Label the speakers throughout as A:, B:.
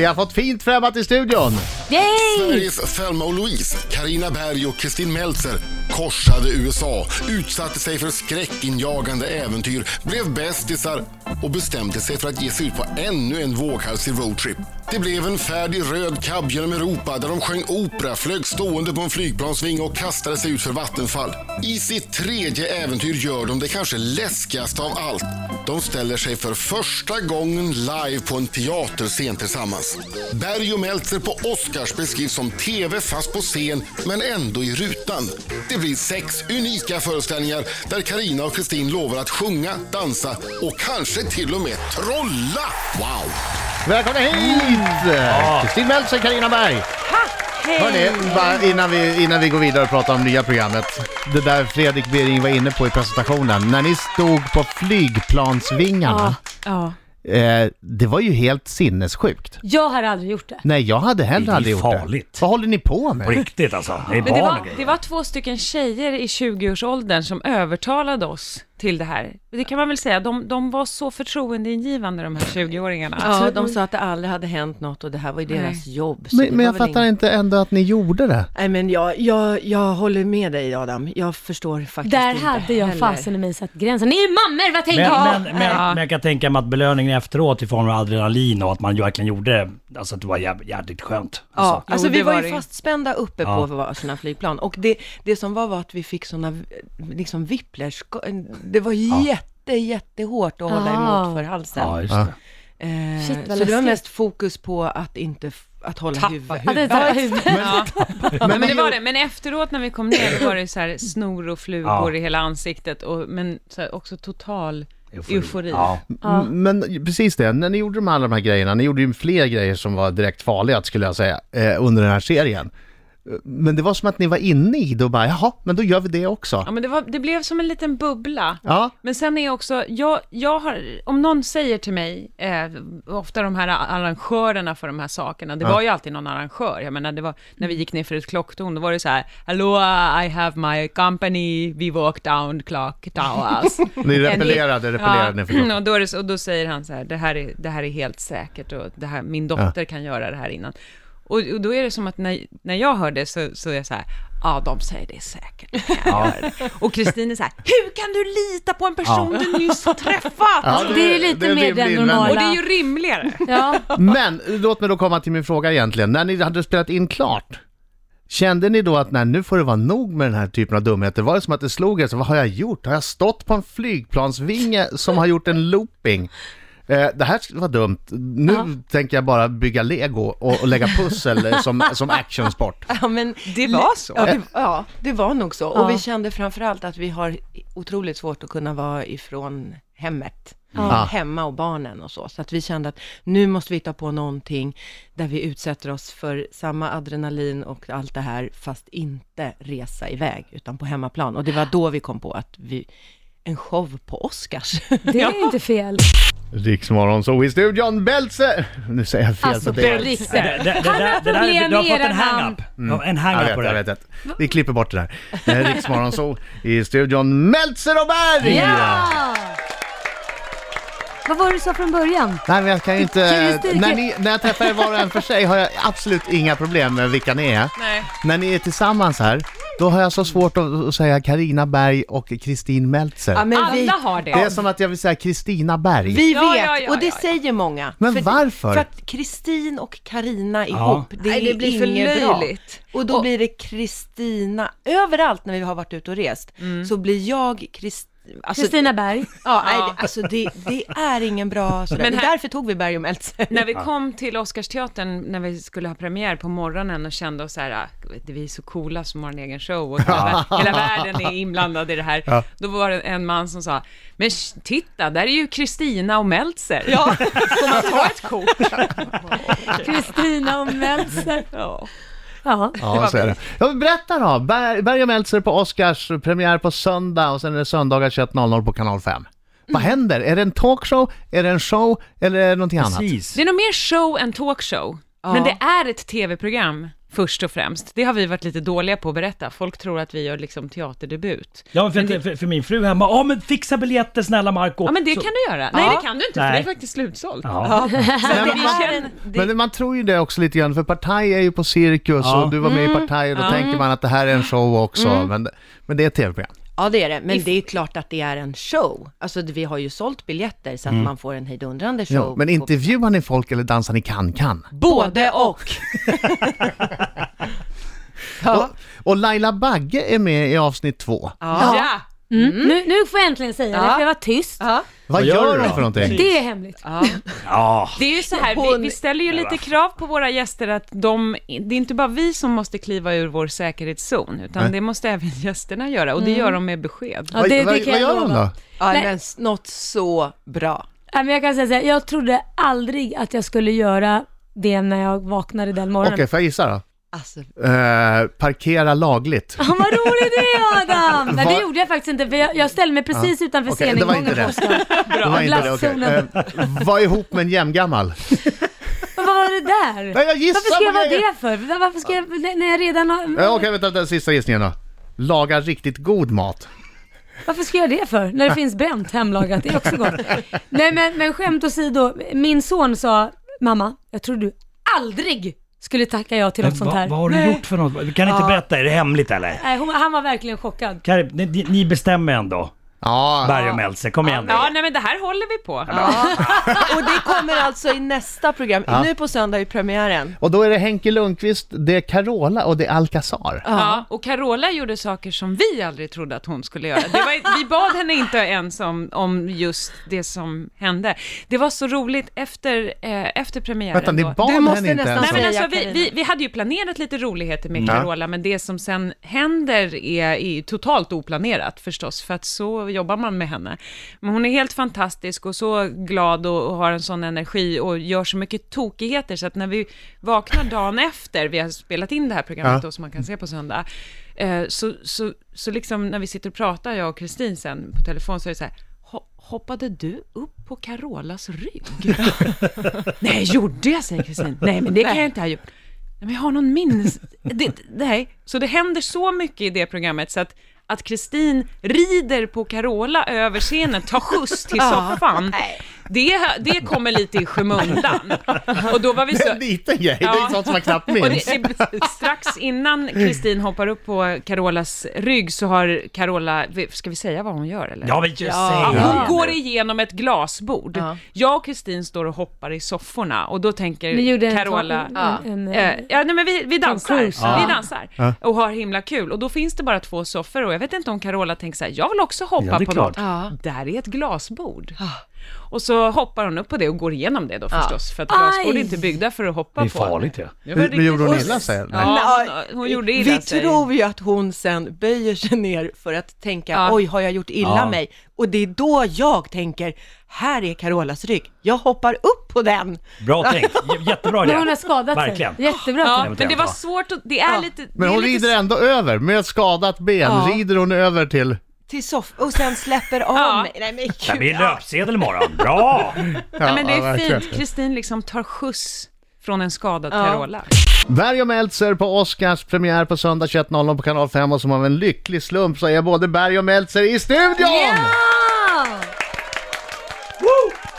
A: Vi har fått fint främmat i studion.
B: Yay!
C: Sveriges Selma och Louise, Karina Berg och Kristin Meltzer korsade USA, utsatte sig för skräckinjagande äventyr, blev bästisar och bestämde sig för att ge sig ut på ännu en våghalsig roadtrip. Det blev en färdig röd cab genom Europa där de sjöng opera, flög stående på en flygplansvinge och kastade sig ut för vattenfall. I sitt tredje äventyr gör de det kanske läskigaste av allt. De ställer sig för första gången live på en teaterscen tillsammans. Berg och Meltzer på Oscars beskrivs som TV fast på scen men ändå i rutan. Det blir sex unika föreställningar där Karina och Kristin lovar att sjunga, dansa och kanske till och med trolla. Wow!
A: Välkomna hit! Kristin Meltzer, Carina Berg. Hörni, bara innan vi, innan vi går vidare och pratar om nya programmet. Det där Fredrik Bering var inne på i presentationen. När ni stod på
B: Ja,
A: flygplansvingarna.
B: ja.
A: Eh, det var ju helt sinnessjukt.
B: Jag har aldrig gjort det.
A: Nej, jag hade heller
D: Det är
A: aldrig gjort
D: farligt.
A: det. Vad håller ni på
D: På
A: med?
D: riktigt alltså. Det är
E: Men det,
D: barn och
E: var, det
D: grejer.
E: var två stycken tjejer i 20-årsåldern som övertalade oss till det här. Det kan man väl säga, de, de var så förtroendeingivande de här 20-åringarna.
F: Ja, de sa att det aldrig hade hänt något och det här var ju deras jobb. så det
A: Men,
F: var
A: men jag
F: väl
A: fattar
F: ing-
A: inte ändå att ni gjorde det.
F: Nej, men jag, jag, jag håller med dig Adam. Jag förstår faktiskt
B: Där
F: inte
B: hade jag
F: heller.
B: fasen i mig satt gränsen. Ni är mammor, vad tänker jag?
D: Men, men, men, men jag kan tänka mig att belöningen efteråt i form av adrenalin och att man ju verkligen gjorde det, alltså att det var jäv- jävligt skönt.
F: Ja,
D: Alltså.
F: alltså
E: Jo,
F: vi
E: det
F: var
E: var
F: ju
E: det.
F: fastspända uppe
D: Ja.
F: på varsina flygplan och det, det som var var att vi fick sådana eh, liksom vipplers, det var jätte, jättehårt att hålla
B: Ah.
F: emot för halsen.
D: Ja, just det.
F: Eh,
B: Shit, vad
F: så det var
B: läskigt.
F: mest fokus på att inte, f- att hålla
E: Tappa
F: huvudet.
B: Ja, det tar huvudet.
E: Ja. Men, men, det var det. men efteråt när vi kom ner då var det så här snor och flugor
D: Ja.
E: i hela ansiktet, och, men så här, också total eufori.
D: Ja.
B: Ja.
A: Mm, Men precis det, när ni gjorde de alla de här grejerna, ni gjorde ju fler grejer som var direkt farliga skulle jag säga, eh, under den här serien. Eh, Men det var som att ni var inne i det och bara, jaha, men då gör vi det också.
E: Ja, men det, var, det blev som en liten bubbla.
A: Ja,
E: Men sen är också, jag, jag har, om någon säger till mig, eh, ofta de här arrangörerna för de här sakerna, det var ju alltid någon arrangör, jag menar det var, när vi gick ner för ett klocktorn, då var det så här, Hello, I have my company, we walk down clock towers. Mm,
A: ni repellerade, repellerade ni förlåt.
E: och, då är det, så- och då säger han så här, det här är, det här är helt säkert och det här, min dotter kan göra det här innan. Och, och då är det som att när, när jag hör det så, så är jag så här, ja de säger det är säkert. de kan göra det." Och Kristin är så här, hur kan du lita på en person du nyss har träffat?
A: Ja,
B: det är ju lite
A: är
B: mer
A: rimlig
B: den
A: invändning.
B: normala.
E: Och det är ju rimligare.
B: Ja.
A: Men låt mig då komma till min fråga egentligen. När ni hade spelat in klart, kände ni då att nej, nu får det vara nog med den här typen av dumheter? Var det som att det slog er, så, vad har jag gjort? Har jag stått på en flygplansvinge som har gjort en looping? Eh, det här var dumt. Nu
B: Ja.
A: tänker jag bara bygga lego och, och lägga pussel eh, som, som actionsport.
F: Ja, men,
E: Det var så.
F: Ja, det, ja, det var nog så.
B: Ja.
F: Och vi kände framförallt att vi har otroligt svårt att kunna vara ifrån hemmet.
A: Ja.
F: Hemma och barnen och så. Så att vi kände att nu måste vi ta på någonting där vi utsätter oss för samma adrenalin och allt det här, fast inte resa iväg, utan på hemmaplan. Och det var då vi kom på att vi, en show på Oscars.
B: Det är ju inte fel.
A: Riksmorgon så i studion, Beltze! Nu säger jag fel.
B: Alltså
A: så det är...
B: på riktigt.
D: Det, det, det, det, där- det där,
B: problem
D: du har fått
B: med
D: en
B: era
D: hang-up. Ja, En
A: Jag
D: hang-up
A: vet,
D: på det
A: jag
D: här.
A: vet, jag vet. Vi klipper bort det där. Eh, Riksmorgon så i studion, Meltzer och Berg!
B: Ja! Vad var det du sa från början?
A: Nej men jag kan ju inte...
B: Karaktäristik-
A: När, ni, när jag träffar er var och en för sig har jag absolut inga problem med vilka ni är.
E: Nej.
A: När ni är tillsammans här, då har jag så svårt att, att säga Karina Berg och Kristin Meltzer.
F: Ja, men vi,
E: Alla har
A: Det är
E: det.
A: som att jag vill säga Kristina Berg.
F: vi vet,
E: Ja, ja, ja,
F: och det
E: ja, ja.
F: säger många.
A: Men varför?
F: För att Kristin och Karina ihop, det,
E: Nej, det blir
F: är
E: för
F: inget bra.
E: löjligt.
F: Och då blir det Kristina, överallt när vi har varit ute och rest,
E: Mm.
F: så blir jag Kristina. Alltså,
B: Kristina Berg.
F: ja, nej, det- alltså det, det är ingen bra sådär.
E: Men
F: Men
E: här-
F: därför tog vi Berg och Meltzer.
E: När vi kom till Oscarsteatern, när vi skulle ha premiär på morgonen och kände oss så här, ah, vi är så coola som har en egen show och hela, hela världen är inblandad i det här. Då var det en man som sa, men sh- titta, där är ju Kristina och Meltzer. Ja. Får man ta ett kort?
B: Kristina och Meltzer.
E: Ja.
B: Ja.
A: Ja, så är det. Ja, men berätta då! Ber- Berg och Meltzer på Oscars, premiär på söndag och sen är det söndagar 21.00 på kanal 5. Vad händer? Är det en talkshow? Är det en show? Eller är det någonting annat?
D: Precis.
E: Det är nog mer show än talkshow, men det är ett tv-program. först och främst. Det har vi varit lite dåliga på att berätta. Folk tror att vi gör liksom teaterdebut.
D: Ja, men för, för, för min fru hemma, ja men fixa biljetter snälla Marco
E: Ja, men det
D: Så-
E: kan du göra. Nej,
F: Ja.
E: det kan du inte, för
D: Nej.
E: det är faktiskt slutsålt.
D: Ja.
E: Så att det,
A: men-
E: vi känner, det,
A: Men man tror ju det också lite grann, för Partaj är ju på Cirkus
D: Ja.
A: och du var med
B: Mm.
A: i Partaj och då tänker man att det här är en show också, men, men det är ett tv-program.
F: Ja, det är det. Men det är klart att det är en show. Alltså, vi har ju sålt biljetter så att man får en hejdundrande show.
A: Mm. Ja, men
F: på-
A: intervjuar ni folk eller dansar ni kan-kan?
F: Både och! ja.
A: Och, och Laila Bagge är med i avsnitt två.
E: ja.
B: Mm. Nu, nu får jag äntligen säga det,
F: Ja.
B: för jag var tyst.
F: ja.
A: Vad
D: gör
A: gör
D: du
A: hon
D: då?
A: för någonting?
B: Det är hemligt.
D: ja.
E: Det är ju så här, vi,
F: Hon-
E: vi ställer ju lite krav på våra gäster att de, det är inte bara vi som måste kliva ur vår säkerhetszon, utan det måste även gästerna göra, och det gör de med besked.
B: Ja, det,
A: vad,
B: det kan
A: vad
B: jag
A: gör hon
B: lova.
A: då?
F: ja
B: Nej.
F: men s- något så bra.
B: Nej, men jag kan säga så här, jag trodde aldrig att jag skulle göra det när jag vaknade den morgonen.
A: Okej, får jag gissa då?
F: Alltså,
A: Eh, parkera lagligt.
B: Ja, vad rolig du är Adam! Nej,
A: Va-
B: det gjorde jag faktiskt inte, för jag, jag ställde mig precis utanför
A: Okej, det var
B: sceningången
A: inte det.
B: på Oscar.
A: Det var inte det, okej.
B: Glasszonen.
A: Eh, var ihop med en jämngammal.
B: Men Vad var det där?
A: Nej, jag gissar
B: Varför ska jag
A: på
B: vara
A: grejer.
B: det för? Varför ska jag, när jag redan har,
A: Eh, Okej, vänta, den sista gissningen då. Laga riktigt god mat.
B: Varför ska jag det för? När det finns bränt hemlagat, det är också gott. Nej men, men skämt åsido, min son sa, mamma, jag tror du aldrig skulle tacka ja till något sånt här.
D: vad, vad har du
B: Nej.
D: gjort för något? Du kan inte berätta, är det hemligt eller?
B: Nej, hon, han var verkligen chockad.
D: Kari, ni, ni- ni bestämmer ändå.
A: Ja,
D: Berg och Meltzer, kom igen nu.
E: Ja, nej men det här håller vi på.
F: och det kommer alltså i nästa program. Nu på söndag är premiären.
A: och då är det Henke Lundqvist, det är Carola och det är Alcazar.
E: Ja, och Carola gjorde saker som vi aldrig trodde att hon skulle göra. Det var, vi bad henne inte ens om, om just det som hände. Det var så roligt efter, eh, efter premiären.
A: Vänta, ni
E: då-
A: bad
F: Du måste
A: henne inte
F: nästan
A: ens
E: Nej, men
A: om-
E: alltså, vi,
F: Karina.
E: vi, vi hade ju planerat lite roligheter med
A: Ja.
E: Carola, men det som sen händer är, är totalt oplanerat förstås, för att så jobbar man med henne. Men hon är helt fantastisk och så glad och, och har en sån energi och gör så mycket tokigheter, så att när vi vaknar dagen efter, vi har spelat in det här programmet
A: Ja.
E: då, som man kan se på söndag, eh, så, så, så liksom när vi sitter och pratar, jag och Kristin sen på telefon, så är det så här, "Ho- Hoppade du upp på Carolas rygg? Nej, gjorde jag, säger Kristin. Nej, men det kan jag inte ha gjort. Nej, men jag har någon minnes... Det, nej. Så det händer så mycket i det programmet så att att Kristin rider på Carola över scenen, tar skjuts till soffan, det, det kommer lite i skymundan. Och då var vi
A: Det är
E: så...
A: en liten grej, det är
E: alltså- Ja.
A: sånt som man knappt
E: Och
A: minns.
E: det, det, strax innan Kristin hoppar upp på Carolas rygg så har Carola, ska vi säga vad hon gör eller?
D: Ja, men just säg
E: Ja, hon
D: det.
E: går igenom ett glasbord. Jag och Kristin står och hoppar i sofforna och då
B: Ni gjorde
E: tänker
B: en,
E: Carola...
B: en,
E: Ja.
B: en, en,
E: Eh, ja, nej, men vi, vi dansar.
B: Cruise,
E: Vi dansar och har himla kul. Och då finns det bara två soffor och jag vet inte om Carola tänker så här, jag vill också hoppa
D: Ja, det är
E: på
D: klart.
E: något. Där är ett glasbord. Och så hoppar hon upp på det och går igenom det då förstås, för att glasbord är
B: Aj.
E: inte byggda för att hoppa på.
D: Det är farligt ju.
E: Det var
A: Men
E: riktigt-
A: gjorde hon illa sig? Nej.
E: Ja, hon, hon gjorde illa
F: Vi
E: sig.
F: tror ju att hon sen böjer sig ner för att tänka,
E: Ja.
F: oj, har jag gjort illa
D: Ja.
F: mig? Och det är då jag tänker, här är Carolas rygg, jag hoppar upp på den.
D: Bra tänkt, J- jättebra
B: men hon har
D: idé.
B: skadat
D: Verkligen.
B: sig. Jättebra.
E: Ja,
B: tänkt.
E: men det var
D: Ja.
E: svårt att, det är lite...
A: Men
E: det
A: hon
E: är lite
A: rider ändå över, med ett skadat ben rider hon över till...
F: Till soff och sen släpper av
E: Ja.
F: mig. Nej men
D: Det blir
F: gud.
D: löpsedel imorgon, bra!
A: Ja,
E: Ja, men det
A: ja,
E: är
A: verkligen.
E: fint. Kristin liksom tar skjuts från en skadad Carola.
A: Berg och Meltzer på Oscars premiär på söndag 21.00 på kanal 5 och som av en lycklig slump så är både Berg och Meltzer i studion!
B: Ja!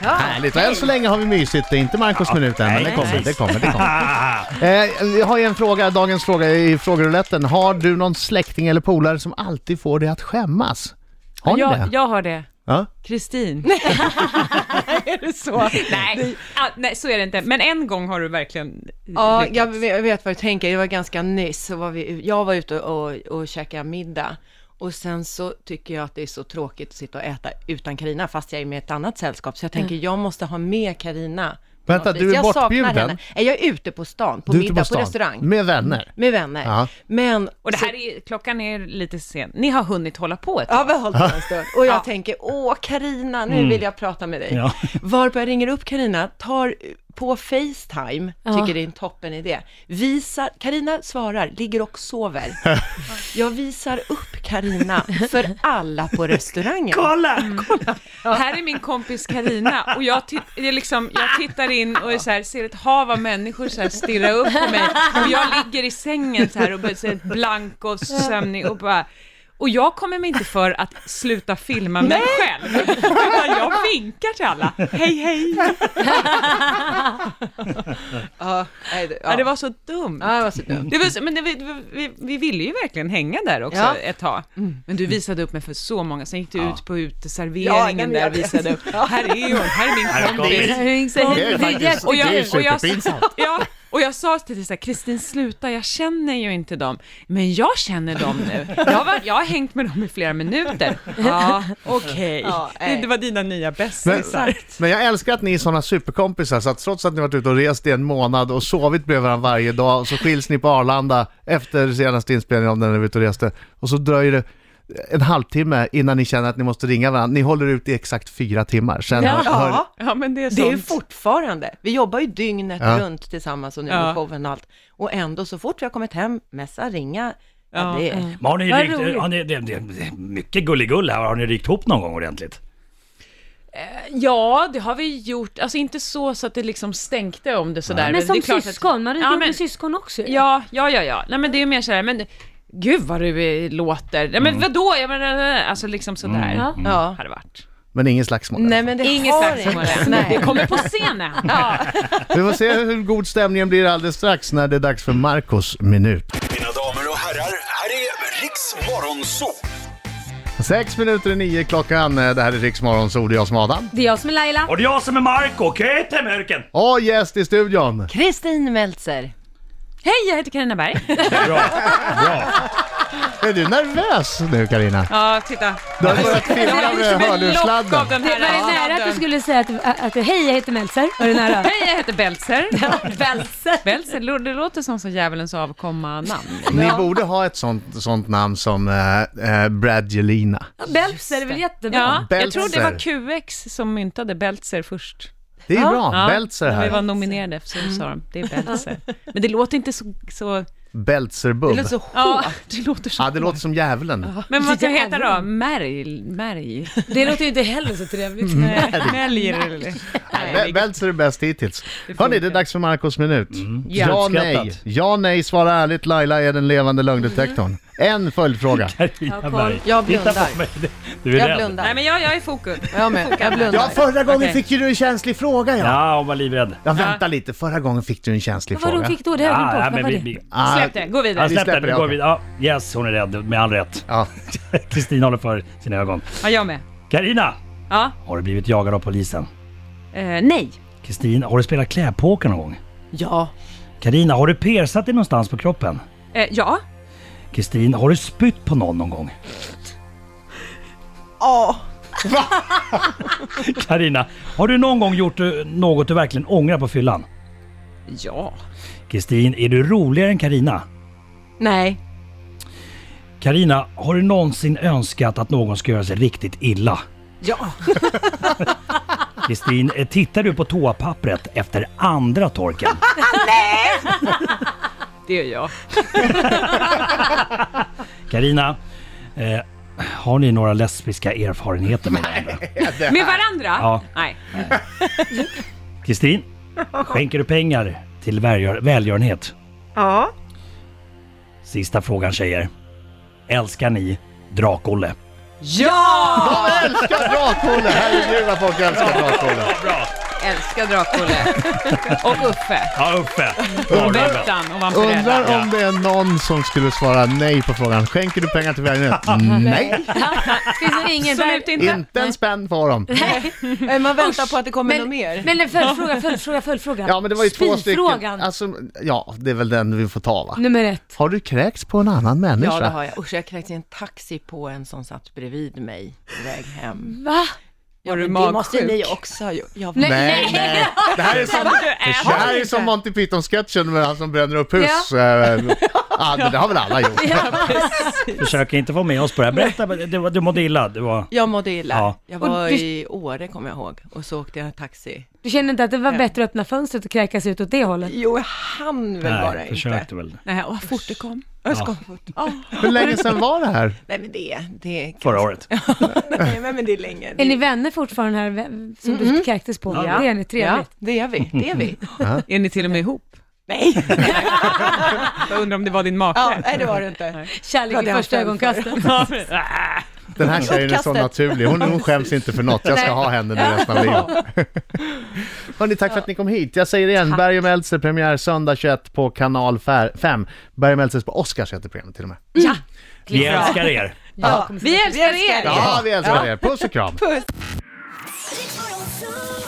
A: Härligt! Och än så länge har vi mysigt. Det är inte Marcos minut än, men det
D: nej,
A: kommer,
D: precis.
A: det kommer, det kommer. Eh, vi har ju en fråga, dagens fråga i frågerouletten. Har du någon släkting eller polare som alltid får dig att skämmas? Har ni det?
E: Jag, jag har det.
A: Ja?
E: Kristin. är det så? Nej. Ah, nej, så är det inte. Men en gång har du verkligen
F: Ja,
E: lyckats.
F: jag vet jag vet vad du tänker. Det var ganska nyss. Så var vi, jag var ute och, och käkade middag. Och sen så tycker jag att det är så tråkigt att sitta och äta utan Karina fast jag är med ett annat sällskap. Så jag tänker, jag måste ha med Karina. på
A: Mm. Vänta,
F: något vis.
A: du är
F: jag saknar
A: bortbjuden?
F: henne. Nej, Jag är ute på stan, på
A: Du är ute
F: middag, på,
A: stan
F: restaurang.
A: Med vänner?
F: Med vänner.
A: Ja.
F: Men...
E: Och det här är, klockan är lite sen. Ni har hunnit hålla på ett
F: Ja, vi har hållit på en stund. Och jag
E: Mm.
F: tänker, åh Karina, nu vill jag prata med dig.
D: Ja.
F: Varpå jag ringer upp Karina, tar på Facetime,
B: Ja.
F: tycker det är en toppen idé. Visar, Karina svarar, ligger och sover. Jag visar upp Karina för alla på restaurangen.
D: Kolla!
E: Här är min kompis Karina och jag, titt, det är liksom, jag tittar in och är så här, ser ett hav av människor så här stirra upp på mig och jag ligger i sängen så här och blir så här blank och sömnig och bara och jag kommer mig inte för att sluta filma mig själv, utan jag vinkar till alla. Hej, hej!
F: Ja, nej, det-
E: Ja. Det
F: ja.
E: var så dumt.
F: Ja, det var så dumt.
E: Det var, så- men det, vi, vi, vi ville ju verkligen hänga där också
F: Ja.
E: ett tag. Men du visade upp mig för så många, sen gick du ut på
F: Ja, nej, men
E: uteserveringen där
F: jag
E: och
F: vet.
E: visade upp. Här är hon, här
D: Här
E: är min
D: kommer
E: kompis.
D: vi.
A: Det är faktiskt,
E: och jag-
A: det är
E: och jag-
A: superpinsamt.
E: Ja, och jag sa till Lisa, Kristin sluta, jag känner ju inte dem. Men jag känner dem nu. Jag har, varit, jag har hängt med dem i flera minuter. Ja, okej.
F: Ja,
E: Det-
F: nej.
E: det var dina nya
A: Men,
E: bästisar.
A: men jag älskar att ni är sådana superkompisar så att trots att ni varit ute och rest i en månad och sovit bredvid varandra varje dag så skiljs ni på Arlanda efter senaste inspelningen om när ni var ute och reste och så dröjer det en halvtimme innan ni känner att ni måste ringa varandra. Ni håller ut i exakt fyra timmar. Sen
B: Ja.
A: hör, hör,
F: Ja,
E: Ja, men det är
F: det är
E: sånt.
F: fortfarande. Vi jobbar ju dygnet
A: Ja.
F: runt tillsammans och nu
E: Ja.
F: med showen och allt. Och ändå så fort vi har kommit hem, messa, ringa. Ja,
E: Ja,
F: det är...
D: Men har ni
B: Vad
D: rykt,
B: roligt.
D: har ni, det, det, det, mycket gulligull här. Har ni rykt ihop någon gång ordentligt?
E: Ja, det har vi gjort. Alltså inte så, så att det liksom stänkte om det sådär.
B: Men
E: det är
B: som
E: klart att-
B: syskon, man rycker
E: Ja,
B: upp
E: men-
B: med syskon också ju.
E: Ja, ja, ja, ja. Nej men det är mer sådär, men gud vad du eh, låter. Nej men vadå, jag menar, alltså liksom sådär.
B: Ja.
F: Ja.
E: Har det varit.
A: men ingen slagsmål.
F: Nej, men det
E: Inget
F: har
E: slagsmål
F: inte-
E: än.
F: Nej.
E: Det kommer på scenen. Ja.
A: Vi får se hur god stämningen blir alldeles strax när det är dags för Marcos minut.
G: Mina damer och herrar, här är Riks Morgonzoo!
A: Sex minuter i nio klockan. Eh, Det här är Riksmorgon, så det är jag som är Adam.
B: Det är jag som är Laila.
D: Och det är jag som är Marco, Ketemörken!
A: Och gäst i studion!
F: Kristin Meltzer.
E: Hej, jag heter Carina Berg.
D: Bra, bra.
A: Är du nervös nu Karina?
E: Ja, titta.
A: Du har börjat fippla med hörlurssladden.
E: av den
B: Det
E: här
B: var det nära att du skulle säga att, att, att hej jag heter Meltzer? Var det nära?
E: Hej, jag heter Belzer.
B: Meltzer.
E: Belzer, det låter som så djävulens avkomma namn.
A: Ni borde ha ett sånt, sånt namn som eh, eh, Bradgelina.
B: Beltzer är väl jättebra?
E: Ja, jag tror det var
A: Belzer.
E: QX som myntade Belzer först.
A: Det är bra,
E: Ja,
A: Beltzer
E: När vi var
A: här.
E: nominerade så sa de, det är Belzer. Men det låter inte så... så
A: Beltzerbubb.
F: Det låter så
E: ja, det låter så...
A: Ja, det låter som djävulen.
E: Men vad ska det heta då? Märg? Märg?
B: Det låter ju inte heller så trevligt.
F: Mm.
E: Mäljer eller?
A: Be- Beltzer är bäst hittills. Hörni, det är dags för Marcos minut. Ja,
D: Hjärnskrattat.
A: nej. Ja, nej, svara ärligt. Laila är den levande lögndetektorn. En följdfråga.
D: Carina
B: kom.
D: Berg.
F: Jag blundar.
D: Titta på mig. Du är
F: Jag
D: rädd.
F: blundar.
E: Nej men jag, jag är i fokus.
F: Jag med. Jag
A: Ja,
F: blundar.
A: förra gången
E: Okej.
A: fick ju du en känslig fråga ja.
D: Ja, hon var livrädd.
A: Ja, vänta lite. Förra gången fick du en känslig
B: Vad var det hon
A: fråga.
B: fick då? Det har jag glömt
D: Ja, ja,
B: bort. Vad
D: men
B: var
D: vi,
B: det?
D: vi,
A: Ah,
E: Släpp det, gå
D: ja,
E: vidare.
A: Vi
D: släpp
A: släpper
D: den,
A: det,
D: nu går
A: okej.
D: vi vidare. Ja, yes, hon är rädd, med all rätt.
A: Ja.
D: Kristin håller för sina ögon.
E: Ja, jag med.
D: Karina,
E: Ja.
D: har du blivit jagad av polisen?
E: Eh, nej.
D: Kristin, har du spelat klädpoker någon gång?
F: Ja.
D: Karina, har du persat dig någonstans på kroppen?
E: Eh, ja.
D: Kristin, har du spytt på någon någon gång?
F: Ja.
D: Karina, har du någon gång gjort eh, något du verkligen ångrar på fyllan?
E: Ja.
D: Kristin, är du roligare än Karina?
F: Nej.
D: Karina, har du någonsin önskat att någon ska göra sig riktigt illa?
F: Ja.
D: Kristin, eh, tittar du på toapappret efter andra torken?
E: Det är jag.
D: Karina, eh, har ni några lesbiska erfarenheter med varandra?
E: Med varandra?
D: Ja.
E: Nej.
D: Kristin, skänker du pengar till välgör- välgörenhet?
F: Ja.
D: Sista frågan tjejer. Älskar ni Drakolle?
E: Ja!
A: Jag älskar Drakolle! Herregud vad folk älskar Drakolle.
E: Älskar Drakolle. Och Uffe.
D: Ja, Uffe!
E: Bettan och Vampirella.
A: Undrar om det är någon som skulle svara nej på frågan. Skänker du pengar till välgörenhet? Nej,
B: Finns det ingen där?
E: Absolut inte.
A: Mm. inte en spänn får de.
F: Eh, Man väntar på att det kommer något
B: Men,
F: mer.
B: men en följdfråga, följdfråga, följdfråga.
A: Ja men det var ju två stycken.
B: Spyfrågan.
A: Alltså, ja, det är väl den vi får ta va?
B: Nummer ett.
A: Har du kräkts på en annan människa?
F: Ja, det har jag. Usch, jag kräktes i en taxi på en som satt bredvid mig på väg hem.
B: Va?
F: Ja,
E: Var du
F: men det måste
E: magsjuk?
F: ni också ha gjort. Jag var...
B: Nej,
A: Nej,
B: nej.
A: nej. Det här är som,
E: Vad du
A: det
E: äter.
A: här är som Monty Python-sketchen med han som bränner upp hus. eh, Ja, men det har väl alla gjort.
D: Försök inte få med oss på det här. Berätta, det var, du mådde illa. Det var...
F: Jag mådde illa.
D: Ja.
F: Jag
B: Och
F: var
B: du-
F: i Åre kommer jag ihåg och så åkte jag taxi.
B: Du känner inte att det var bättre att öppna fönstret och kräkas ut åt det hållet?
F: Jo, jag hann väl bara
D: Nej,
F: inte.
D: försökte väl.
E: Nej, åh, vad fort det kom.
F: Jag ska fort. Ja.
A: Hur länge sedan var det här?
F: Nej men det, det är
D: Förra året.
F: Nej men det är länge.
B: Är ni vänner fortfarande här vem- som
F: Mm.
B: du kräktes på?
E: Ja.
B: Det är ni,
F: Ja,
B: trevligt.
F: det är vi. Det är vi.
E: Är ni till och med ihop?
F: Nej,
E: Jag undrar om det var din make.
F: ja, nej det var det inte.
B: Kärlek
F: Hade
B: vid
F: jag
B: första
F: själv för.
B: ögonkastet.
A: Den här tjejen är så
F: Uppkastet.
A: naturlig. Hon, hon skäms inte för något. Jag ska
B: Nej.
A: ha henne nu resten av livet. Hörni, tack för att ni kom hit. Jag säger det igen, Berg och Meltzer premiär söndag 21 på kanal 5. Berg och Meltzers på Oscars heter programmet till och med.
D: Vi älskar er.
B: Vi älskar er!
A: Ja, vi älskar er. Puss och kram.
H: Riks Morgonzoo.